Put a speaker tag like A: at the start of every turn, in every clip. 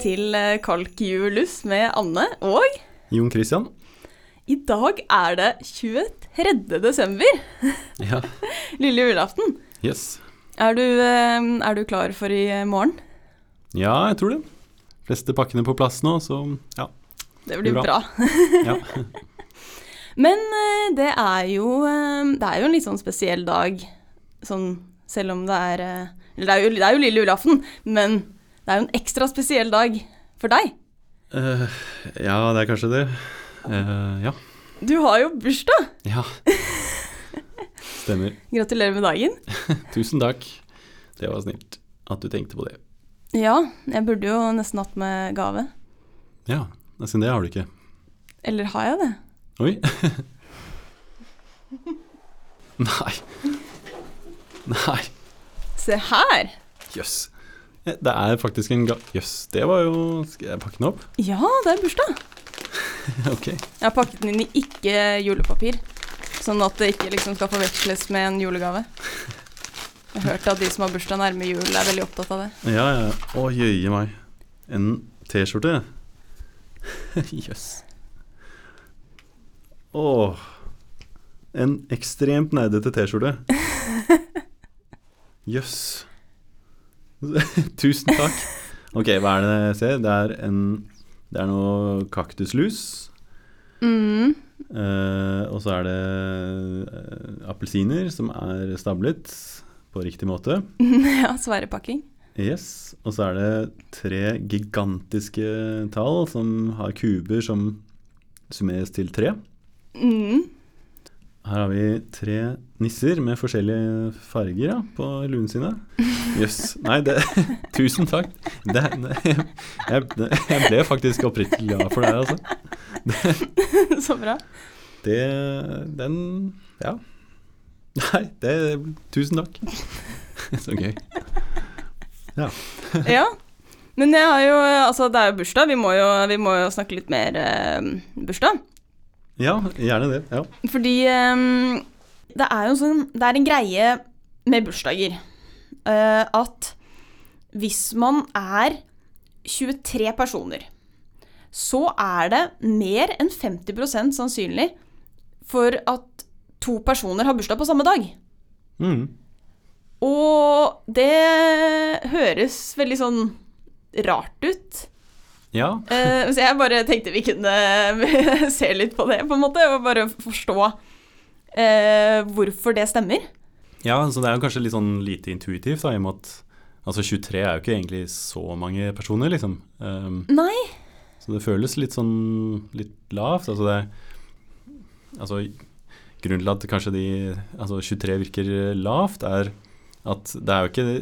A: til eh, Kalk Julus med Anne og
B: Jon Christian?
A: i dag er det 23. desember,
B: Ja.
A: lille julaften.
B: Yes.
A: Er du, eh, er du klar for i eh, morgen?
B: Ja, jeg tror det. Fleste pakkene på plass nå, så ja.
A: Det blir
B: Bra.
A: bra.
B: ja.
A: Men eh, det er jo eh, Det er jo en litt sånn spesiell dag, sånn selv om det er eh, Eller det er jo, det er jo lille julaften, men det er jo en ekstra spesiell dag for deg.
B: Eh, ja, det er kanskje det. Eh, ja.
A: Du har jo bursdag!
B: Ja. Stemmer.
A: Gratulerer med dagen.
B: Tusen takk. Det var snilt at du tenkte på det.
A: Ja, jeg burde jo nesten hatt med gave.
B: Ja, nesten det har du ikke.
A: Eller har jeg det?
B: Oi. Nei. Nei.
A: Se her!
B: Jøss. Eh, Det er faktisk en ga... Jøss, det var jo Skal jeg pakke den opp?
A: Ja, det er bursdag.
B: ok.
A: Jeg har pakket den inn i ikke julepapir, sånn at det ikke liksom skal forveksles med en julegave. Jeg har hørt at de som har bursdag nærme jul, er veldig opptatt av det.
B: Ja, ja. Å, jøye meg. En T-skjorte. Jøss. Åh. En ekstremt nerdete T-skjorte. Jøss. Tusen takk. Ok, hva er det jeg ser? Det er en Det er noe kaktuslus.
A: Mm.
B: Eh, og så er det eh, appelsiner som er stablet på riktig måte.
A: Ja, sværepakking.
B: Yes, og så er det tre gigantiske tall som har kuber som summeres til tre.
A: Mm.
B: Her har vi tre nisser med forskjellige farger ja, på luen sine. Jøss. Nei, det, tusen takk. Det, det, jeg, jeg ble faktisk oppriktig glad for det her, altså.
A: Så bra.
B: Det Den Ja. Nei, det Tusen takk. Så gøy.
A: Ja. Men jeg har jo Altså, det er jo bursdag. Vi må jo, vi må jo snakke litt mer eh, bursdag.
B: Ja, gjerne det. Ja.
A: Fordi eh, det er jo en sånn Det er en greie med bursdager eh, at hvis man er 23 personer, så er det mer enn 50 sannsynlig for at to personer har bursdag på samme dag.
B: Mm.
A: Og det høres veldig sånn rart ut.
B: ja.
A: Eh, så jeg bare tenkte vi kunne se litt på det, på en måte, og bare forstå eh, hvorfor det stemmer.
B: Ja, så det er jo kanskje litt sånn lite intuitivt, da, i og med at altså 23 er jo ikke egentlig så mange personer, liksom. Ehm,
A: Nei.
B: så det føles litt sånn litt lavt. Altså det Altså grunnen til at kanskje de Altså 23 virker lavt, er at det er jo ikke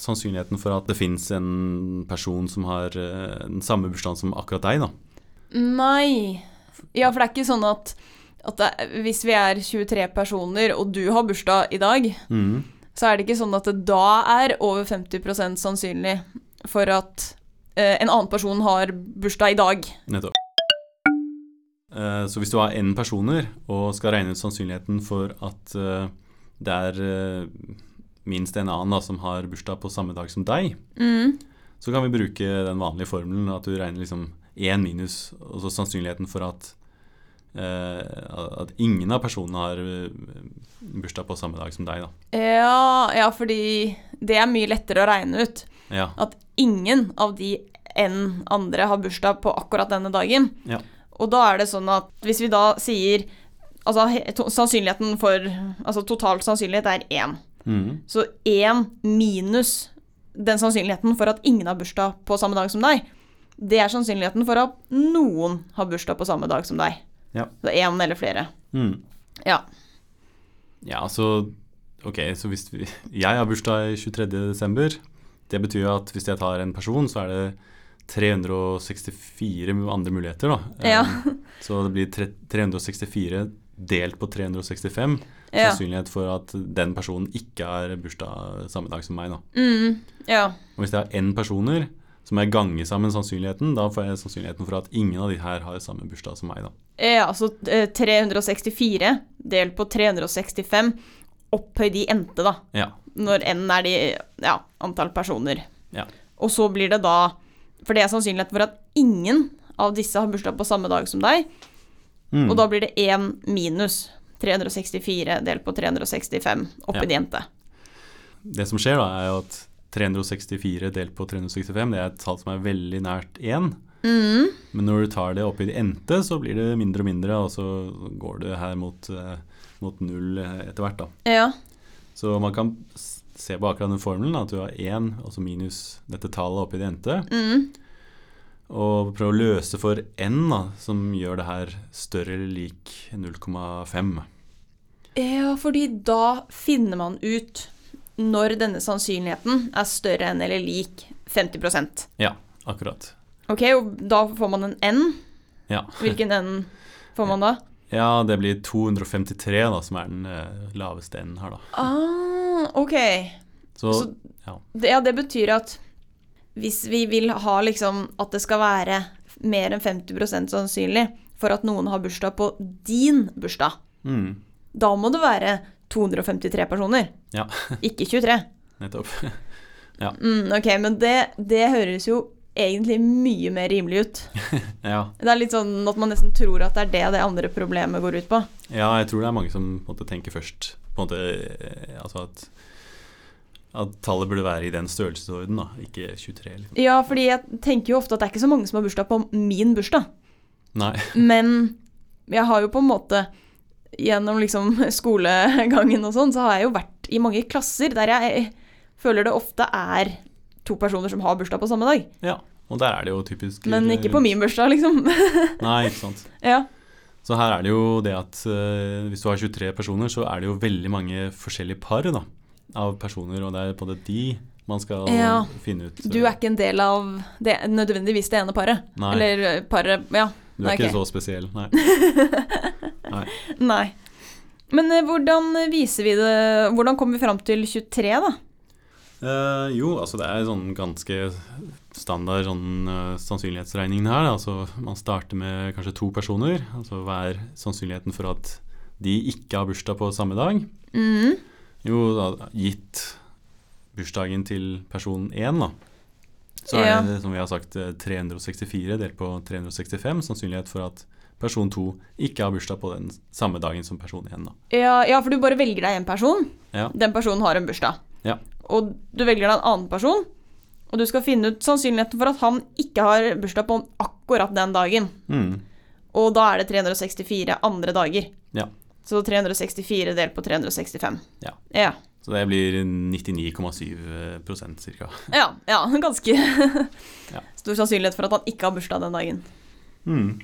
B: sannsynligheten for at det fins en person som har eh, den samme bursdagen som akkurat deg, da.
A: Nei. Ja, for det er ikke sånn at, at det, er- hvis vi er 23 personer, og du har bursdag i dag,
B: Mm.
A: så er det ikke sånn at det da er over 50 sannsynlig for at eh, en annen person har bursdag i dag.
B: Nettopp. Eh, Så hvis du har n personer og skal regne ut sannsynligheten for at eh, det er eh, minst en annen da, som har bursdag på samme dag som deg,
A: Mm.
B: så kan vi bruke den vanlige formelen at du regner liksom én minus, og så sannsynligheten for at eh, at ingen av personene har eh, bursdag på samme dag som deg, da.
A: Ja, ja, fordi det er mye lettere å regne ut.
B: Ja.
A: At ingen av de enn andre har bursdag på akkurat denne dagen.
B: Ja.
A: Og da er det sånn at hvis vi da sier Altså he- to- sannsynligheten for Altså totalt sannsynlighet er én.
B: Mhm.
A: Så én minus den sannsynligheten for at ingen har bursdag på samme dag som deg, det er sannsynligheten for at noen har bursdag på samme dag som deg.
B: Ja.
A: Så én eller flere.
B: Mhm.
A: Ja.
B: Ja, så Ok, så hvis vi, jeg har bursdag 23. desember. Det betyr jo at hvis jeg tar en person, så er det 364 mu- andre muligheter, da.
A: Ja.
B: Eh, Så det blir tre- 364 delt på 365.
A: Ja.
B: Sannsynlighet for at den personen ikke har bursdag samme dag som meg, da.
A: Mm, ja.
B: Og hvis jeg har n personer, så må jeg gange sammen sannsynligheten. Da får jeg sannsynligheten for at ingen av de her har samme bursdag som meg, da.
A: Ja, altså eh, 364 delt på 365 opphøy de n-te, da.
B: Ja.
A: Når n er de ja, antall personer.
B: Ja.
A: Og så blir det da For det er sannsynlighet for at ingen av disse har bursdag på samme dag som deg,
B: Mm.
A: og da blir det én minus 364 delt på 365 oppi
B: Ja.
A: en jente.
B: Det som skjer da, er jo at 364 delt på 365, det er et tall som er veldig nært 1.
A: Mm.
B: Men når du tar det opp i det endte, så blir det mindre og mindre, og så går det her mot, eh, mot null eh, etter hvert, da.
A: Ja.
B: Så man kan s- se på akkurat den formelen, at du har 1, altså minus dette tallet oppi det endte,
A: Mm.
B: og prøve å løse for n, da, som gjør det her større eller lik 0,5.
A: Ja, fordi da finner man ut når denne sannsynligheten er større enn eller lik 50
B: Ja, akkurat.
A: Ok, og da får man en N.
B: Ja.
A: Hvilken N får man da?
B: ja, det blir 253, da, som er den eh, laveste n her, da.
A: Ah, ok.
B: Så,
A: Så-
B: ja.
A: Det, ja, det betyr at hvis vi vil ha liksom at det skal være mer enn 50 sannsynlig for at noen har bursdag på din bursdag,
B: Mm,
A: da må det være 253 personer,
B: ja,
A: ikke 23.
B: nettopp.
A: Mm, ok, men det, det høres jo egentlig mye mer rimelig ut.
B: Ja.
A: Det er litt sånn at man nesten tror at det er det det andre problemet går ut på.
B: Ja, jeg tror det er mange som på en måte, tenker først på en måte, eh, altså at, at tallet burde være i den størrelsesorden, da, ikke 23. Liksom.
A: Ja, fordi jeg tenker jo ofte at det er ikke så mange som har bursdag på min bursdag.
B: Nei.
A: Men jeg har jo på en måte gjennom liksom skolegangen og sånn, så har jeg jo vært i mange klasser der jeg eh, føler det ofte er to personer som har bursdag på samme dag.
B: Ja, og der er det jo typisk eh,
A: Men ikke på min bursdag, liksom.
B: Nei, ikke sant.
A: ja.
B: Så her er det jo det at eh, hvis du har 23 personer, så er det jo veldig mange forskjellige par da, av personer, og det er på en måte de man skal
A: Ja.
B: finne ut.
A: Du er ikke en del av det, nødvendigvis det ene paret.
B: Nei.
A: Eller eh, paret Ja.
B: Du er
A: ok.
B: ikke så spesiell, nei.
A: Nei. Men eh, hvordan viser vi det Hvordan kommer vi fram til 23, da?
B: Eh, jo, altså det er sånn ganske standard sånn, eh, sannsynlighetsregningen her. da. Altså, man starter med kanskje to personer. Altså hva er sannsynligheten for at de ikke har bursdag på samme dag?
A: Mm.
B: Jo, da, gitt bursdagen til person 1, da. Så er
A: Ja.
B: det, som vi har sagt, eh, 364 delt på 365 sannsynlighet for at person 2 ikke har bursdag på den samme dagen som person 1, da.
A: Ja, ja, for du bare velger deg en person.
B: Ja.
A: Den personen har en bursdag.
B: Ja.
A: Og du velger deg en annen person, og du skal finne ut sannsynligheten for at han ikke har bursdag på akkurat den dagen.
B: Mm.
A: Og da er det 364 andre dager.
B: Ja.
A: Så 364 delt på 365.
B: Ja.
A: Ja,
B: Så det blir 99,7 ca.
A: ja, ja ganske
B: Ja.
A: stor sannsynlighet for at han ikke har bursdag den dagen.
B: Mm.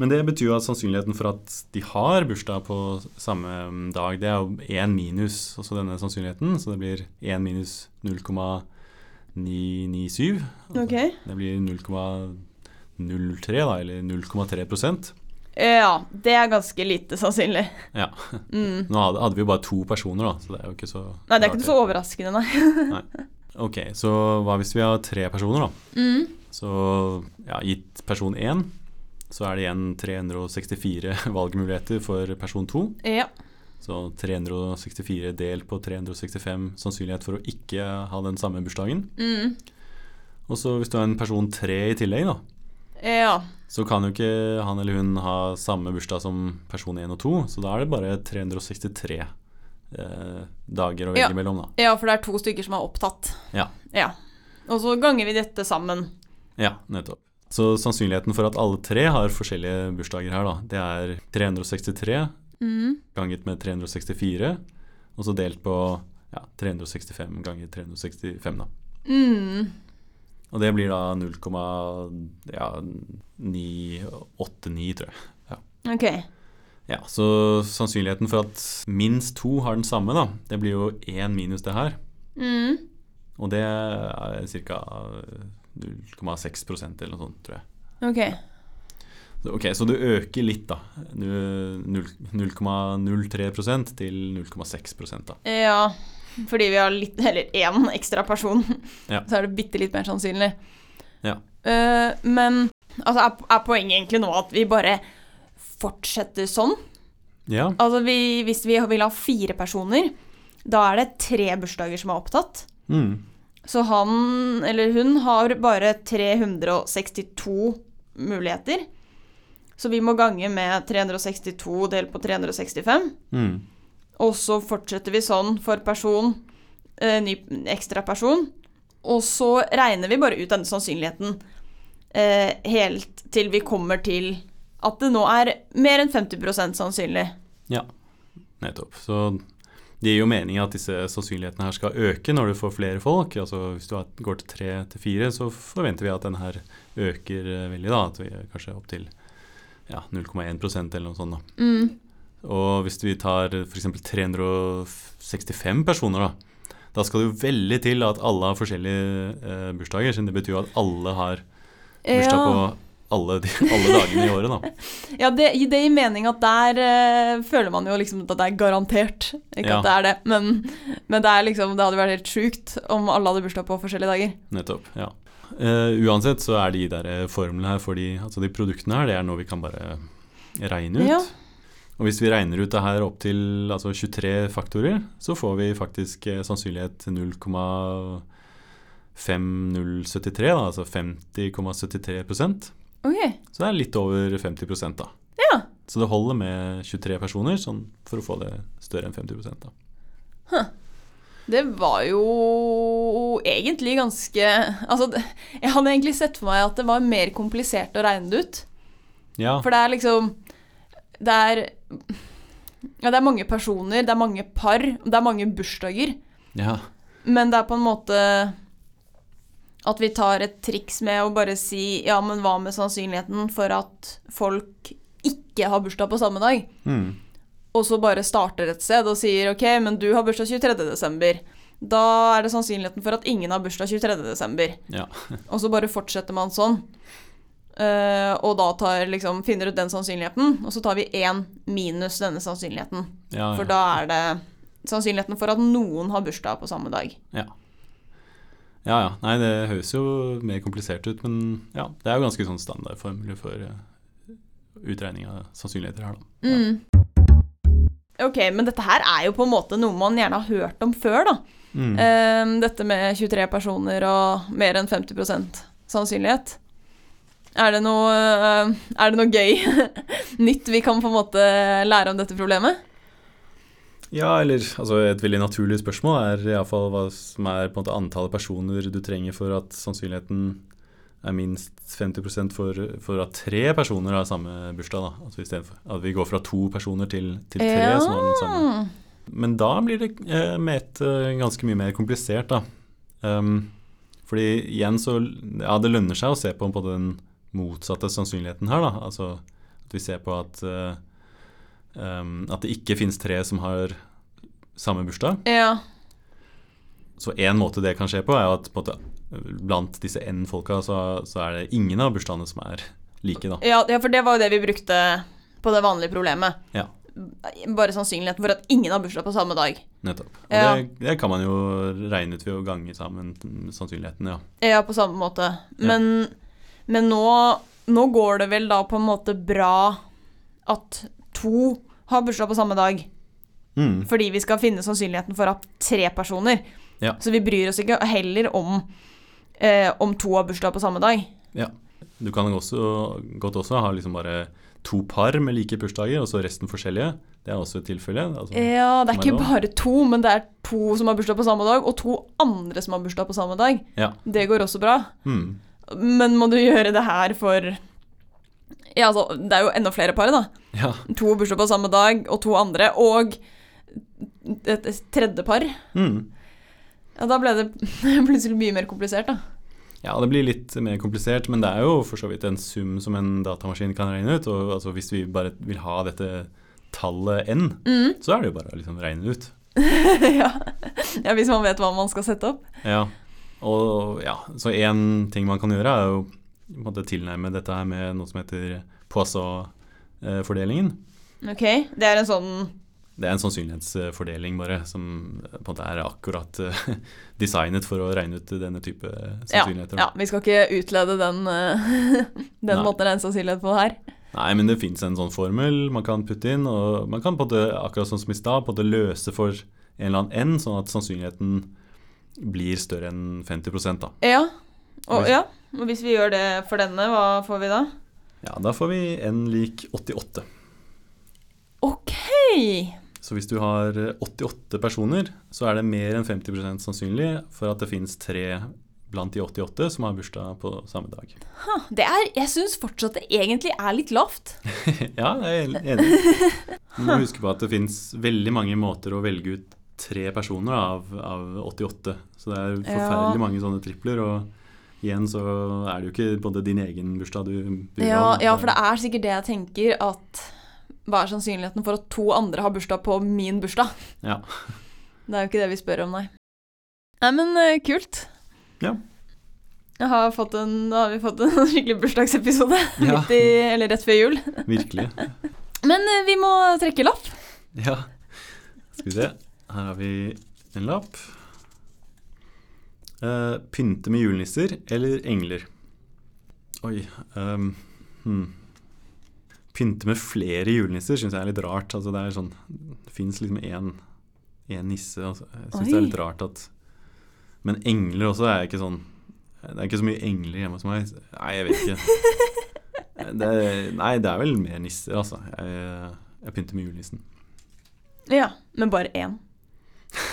B: Men det betyr jo at sannsynligheten for at de har bursdag på samme um, dag, det er jo 1 minus også denne sannsynligheten, så det blir 1 minus 0,997. Altså,
A: Ok.
B: Det blir 0,03 da, eller 0,3 prosent.
A: Ja, det er ganske lite sannsynlig.
B: Ja.
A: Mm.
B: Nå hadde, hadde vi jo bare to personer da, så det er jo ikke så
A: Nei, det er ikke så overraskende, nei.
B: Ok, så hva hvis vi har tre personer da?
A: Mm.
B: Så ja, gitt person 1, så er det igjen 364 valgmuligheter for person 2.
A: Ja.
B: Så 364 delt på 365 sannsynlighet for å ikke ha den samme bursdagen.
A: Mm.
B: Og så hvis du er en person 3 i tillegg, da,
A: ja.
B: så kan jo ikke han eller hun ha samme bursdag som person 1 og 2, så da er det bare 363 eh, dager å velge
A: Ja.
B: mellom, da.
A: Ja, for det er to stykker som er opptatt.
B: Ja.
A: ja. Og så ganger vi dette sammen.
B: Ja, nettopp. Så sannsynligheten for at alle tre har forskjellige bursdager her, da, det er 363
A: Mm.
B: ganget med 364, og så delt på ja, 365 ganger 365, da.
A: Mm.
B: Og det blir da 0,989, tror jeg.
A: Ok.
B: Ja, Så sannsynligheten for at minst to har den samme, da, det blir jo én minus det her.
A: Mm.
B: Og det er ca. 0,6 eller noe sånt, tror jeg.
A: Ok.
B: Så- Ok, Så du øker litt, da. Du- null- 0,03 til 0,6 da.
A: Ja. Fordi vi har litt, eller én ekstra person,
B: Ja.
A: så er det bitte litt mer sannsynlig.
B: Ja.
A: Eh, men altså, er, er poenget egentlig nå at vi bare fortsetter sånn?
B: Ja,
A: Altså, vi, hvis vi vil ha fire personer, da er det tre bursdager som er opptatt.
B: mm.
A: Så han, eller hun, har bare 362 muligheter. Så vi må gange med 362 delt på 365.
B: Mm.
A: Og så fortsetter vi sånn for person, eh, ny ekstra person. Og så regner vi bare ut denne sannsynligheten eh, helt til vi kommer til at det nå er mer enn 50 sannsynlig.
B: Nettopp. Så det gir jo mening at disse sannsynlighetene her skal øke når du får flere folk. Altså Hvis du har- går til tre til fire, så forventer vi at den her øker eh, veldig. da, At vi er kanskje opp til ja, 0,1 eller noe sånt. da. Og hvis vi tar f.eks. 365 personer, da, da skal det jo veldig til at alle har forskjellige eh, bursdager. Siden det betyr jo at alle har bursdag
A: Ja,
B: på alle, de, alle dagene i året, da.
A: ja det, det gir mening at der eh, føler man jo liksom at det er garantert. Ikke
B: Ja.
A: at det er det, men, men det, er liksom, det hadde vært helt sjukt om alle hadde bursdag på forskjellige dager.
B: Nettopp. ja. Eh, uansett så er de der eh, formlene her for de, altså de produktene her, det er noe vi kan bare regne ut.
A: Ja.
B: Og hvis vi regner ut det her opp til altså 23 faktorer, så får vi faktisk eh, sannsynlighet 0,5073, da, altså 50,73
A: Ok.
B: Så det er litt over 50 da.
A: Ja.
B: Så det holder med 23 personer sånn, for å få det større enn 50 da.
A: Det var jo egentlig ganske Altså, det- jeg hadde egentlig sett for meg at det var mer komplisert å regne det ut.
B: Ja,
A: For det er liksom Det er Ja, det er mange personer, det er mange par, og det er mange bursdager.
B: ja,
A: Men det er på en måte at vi tar et triks med å bare si ja, men hva med sannsynligheten for at folk ikke har bursdag på samme dag?
B: mm,
A: og så bare starter et sted og sier ok, men du har bursdag 23. desember. Da er det sannsynligheten for at ingen har bursdag 23. desember.
B: ja.
A: Og så bare fortsetter man sånn. Eh, og da tar, liksom, finner ut den sannsynligheten, og så tar vi én minus denne sannsynligheten.
B: ja,
A: For
B: ja.
A: da er det sannsynligheten for at noen har bursdag på samme dag.
B: ja, ja. Nei, det høres jo mer komplisert ut, men ja, det er jo ganske sånn standardformel for eh, utregning av sannsynligheter her, da.
A: Mm. Ok, men dette her er jo på en måte noe man gjerne har hørt om før, da.
B: Mm.
A: Ehm, dette med 23 personer og mer enn 50 sannsynlighet. Er det noe, eh, er det noe gøy nytt vi kan på en måte lære om dette problemet?
B: Ja, eller altså et veldig naturlig spørsmål er iallfall hva som er på en måte antallet personer du trenger for at sannsynligheten er minst 50 for, for at tre personer har samme bursdag. da. Altså i stedet for At vi går fra to personer til, til tre som har den samme. Men da blir det eh, med et eh, ganske mye mer komplisert, da. Ehm, fordi igjen så Ja, det lønner seg å se på, på den motsatte sannsynligheten her, da. Altså at vi ser på at eh, ehm, at det ikke finnes tre som har samme bursdag.
A: Ja.
B: Så én måte det kan skje på, er jo at på en måte, eh, blant disse N-folka så, så er det ingen av bursdagene som er like, da.
A: Ja, ja, for det var jo det vi brukte på det vanlige problemet.
B: Ja.
A: Bare sannsynligheten for at ingen har bursdag på samme dag.
B: Nettopp. Og
A: Ja.
B: det, det kan man jo regne ut ved å gange sammen sannsynligheten, ja.
A: Ja, på samme måte. Men, men nå, nå går det vel da på en måte bra at to har bursdag på samme dag.
B: Mm.
A: Fordi vi skal finne sannsynligheten for at tre personer.
B: Ja.
A: Så vi bryr oss ikke heller om eh, om to har bursdag på samme dag.
B: Du kan også, godt også ha liksom bare to par med like bursdager, og så resten forskjellige. Det er også et tilfelle. Altså,
A: Ja, det er
B: Som er
A: ikke
B: lov.
A: bare to, men det er to som har bursdag på samme dag, og to andre som har bursdag på samme dag.
B: Ja.
A: Det går også bra.
B: mm,
A: Men må du gjøre det her for Ja, altså, det er jo enda flere par, da.
B: ja.
A: To har bursdag på samme dag, og to andre, og et et tredje par.
B: Mm.
A: Ja, da ble det plutselig mye mer komplisert, da.
B: ja, det blir litt mer komplisert, men det er jo for så vidt en sum som en datamaskin kan regne ut. Og altså, hvis vi bare vil ha dette tallet n,
A: Mm.
B: så er det jo bare å liksom regne det ut.
A: ja. ja, hvis man vet hva man skal sette opp.
B: Ja. Og ja, så én ting man kan gjøre, er jo på en måte tilnærme dette her med noe som heter eh, Poisson-fordelingen.
A: Ok, det er en sånn
B: Det er en sannsynlighetsfordeling bare, som eh, på en måte er akkurat eh, designet for å regne ut denne type eh,
A: ja,
B: sannsynligheter.
A: ja, vi skal ikke utlede den, eh, den
B: Nei.
A: måten å regne sannsynlighet på her.
B: Nei, men det fins en sånn formel man kan putte inn, og man kan på en måte, akkurat sånn som i stad, på en måte løse for en eller annen n, sånn at sannsynligheten blir større enn 50 da.
A: Ja. Og,
B: Hvis-
A: ja. Og hvis vi gjør det for denne, hva får vi da?
B: Ja, da får vi n lik 88.
A: OK!
B: Så hvis du har 88 personer, så er det mer enn 50 sannsynlig for at det finnes tre blant de 88 som har bursdag på samme dag.
A: Ah, Det er, jeg syns fortsatt det egentlig er litt lavt.
B: ja, jeg er enig. Men Du må huske på at det finnes veldig mange måter å velge ut tre personer av, av 88. Så det er
A: Ja.
B: forferdelig mange sånne tripler. Og igjen så er det jo ikke både din egen bursdag du bryr deg
A: Ja,
B: om.
A: ja, for det er sikkert det jeg tenker, at hva er sannsynligheten for at to andre har bursdag på min bursdag?
B: Ja.
A: Det er jo ikke det vi spør om, nei. Nei, men eh, kult.
B: Ja.
A: Jeg har fått en, da har vi fått en skikkelig bursdagsepisode
B: Ja.
A: midt i, eller rett før jul.
B: Virkelig.
A: Men eh, vi må trekke lapp.
B: Ja. Skal vi se. Her har vi en lapp. Eh, pynte med julenisser eller engler? Oi ehm, hmm. Pynte med flere julenisser syns jeg er litt rart. Altså, det er sånn, det fins liksom én, én nisse. Altså. Jeg syns det er
A: Oi.
B: litt rart at Men engler også er ikke sånn Det er ikke så mye engler hjemme hos meg. Nei, jeg vet ikke. Det, er- nei, det er vel mer nisser, altså. Jeg, jeg pynter med julenissen.
A: Ja, men bare én.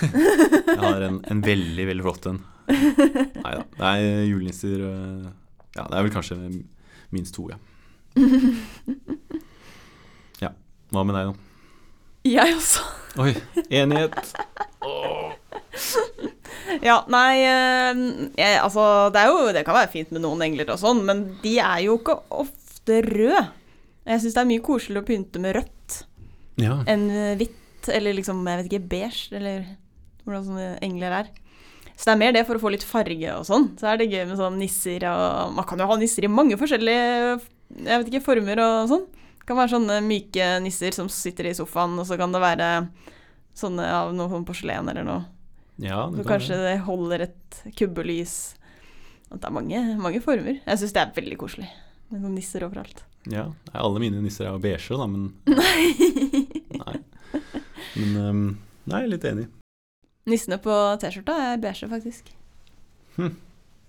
B: Jeg har en, en veldig, veldig flott en. Nei da. Det er julenisser øh, Ja, det er vel kanskje minst to, ja. Ja. Hva med deg, da?
A: Jeg også.
B: Oi, enighet. Åh.
A: Ja, nei eh, jeg, Altså, det er jo Det kan være fint med noen engler og sånn, men de er jo ikke ofte røde. Jeg syns det er mye koseligere å pynte med rødt
B: Ja.
A: enn hvitt, eller liksom, jeg vet ikke, beige, eller hvordan sånne engler er. Så det er mer det for å få litt farge og sånn. Så er det gøy med sånn nisser og Man kan jo ha nisser i mange forskjellige jeg vet ikke, former og sånn. Det kan være sånne myke nisser som sitter i sofaen, og så kan det være sånne av noe sånn porselen eller noe.
B: ja det
A: Så
B: kan-
A: kanskje det holder et kubbelys. At det er mange, mange former. Jeg syns det er veldig koselig. Med sånne nisser overalt.
B: Ja. Nei, Alle mine nisser er jo beige, da, men Nei. Men øhm, Nei, litt enig.
A: Nissene på T-skjorta er beige, faktisk.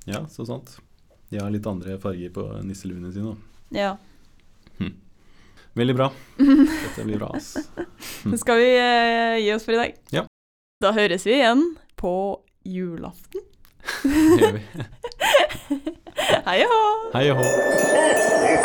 B: Ja, så sant. De har litt andre farger på nisseluene sine òg.
A: Ja.
B: Mm. Veldig bra. Dette blir bra, ass.
A: Så skal vi eh, gi oss for i dag.
B: Ja.
A: Da høres vi igjen på julaften.
B: Det gjør vi.
A: Hei og hå!
B: Hei og hå.
C: Yes.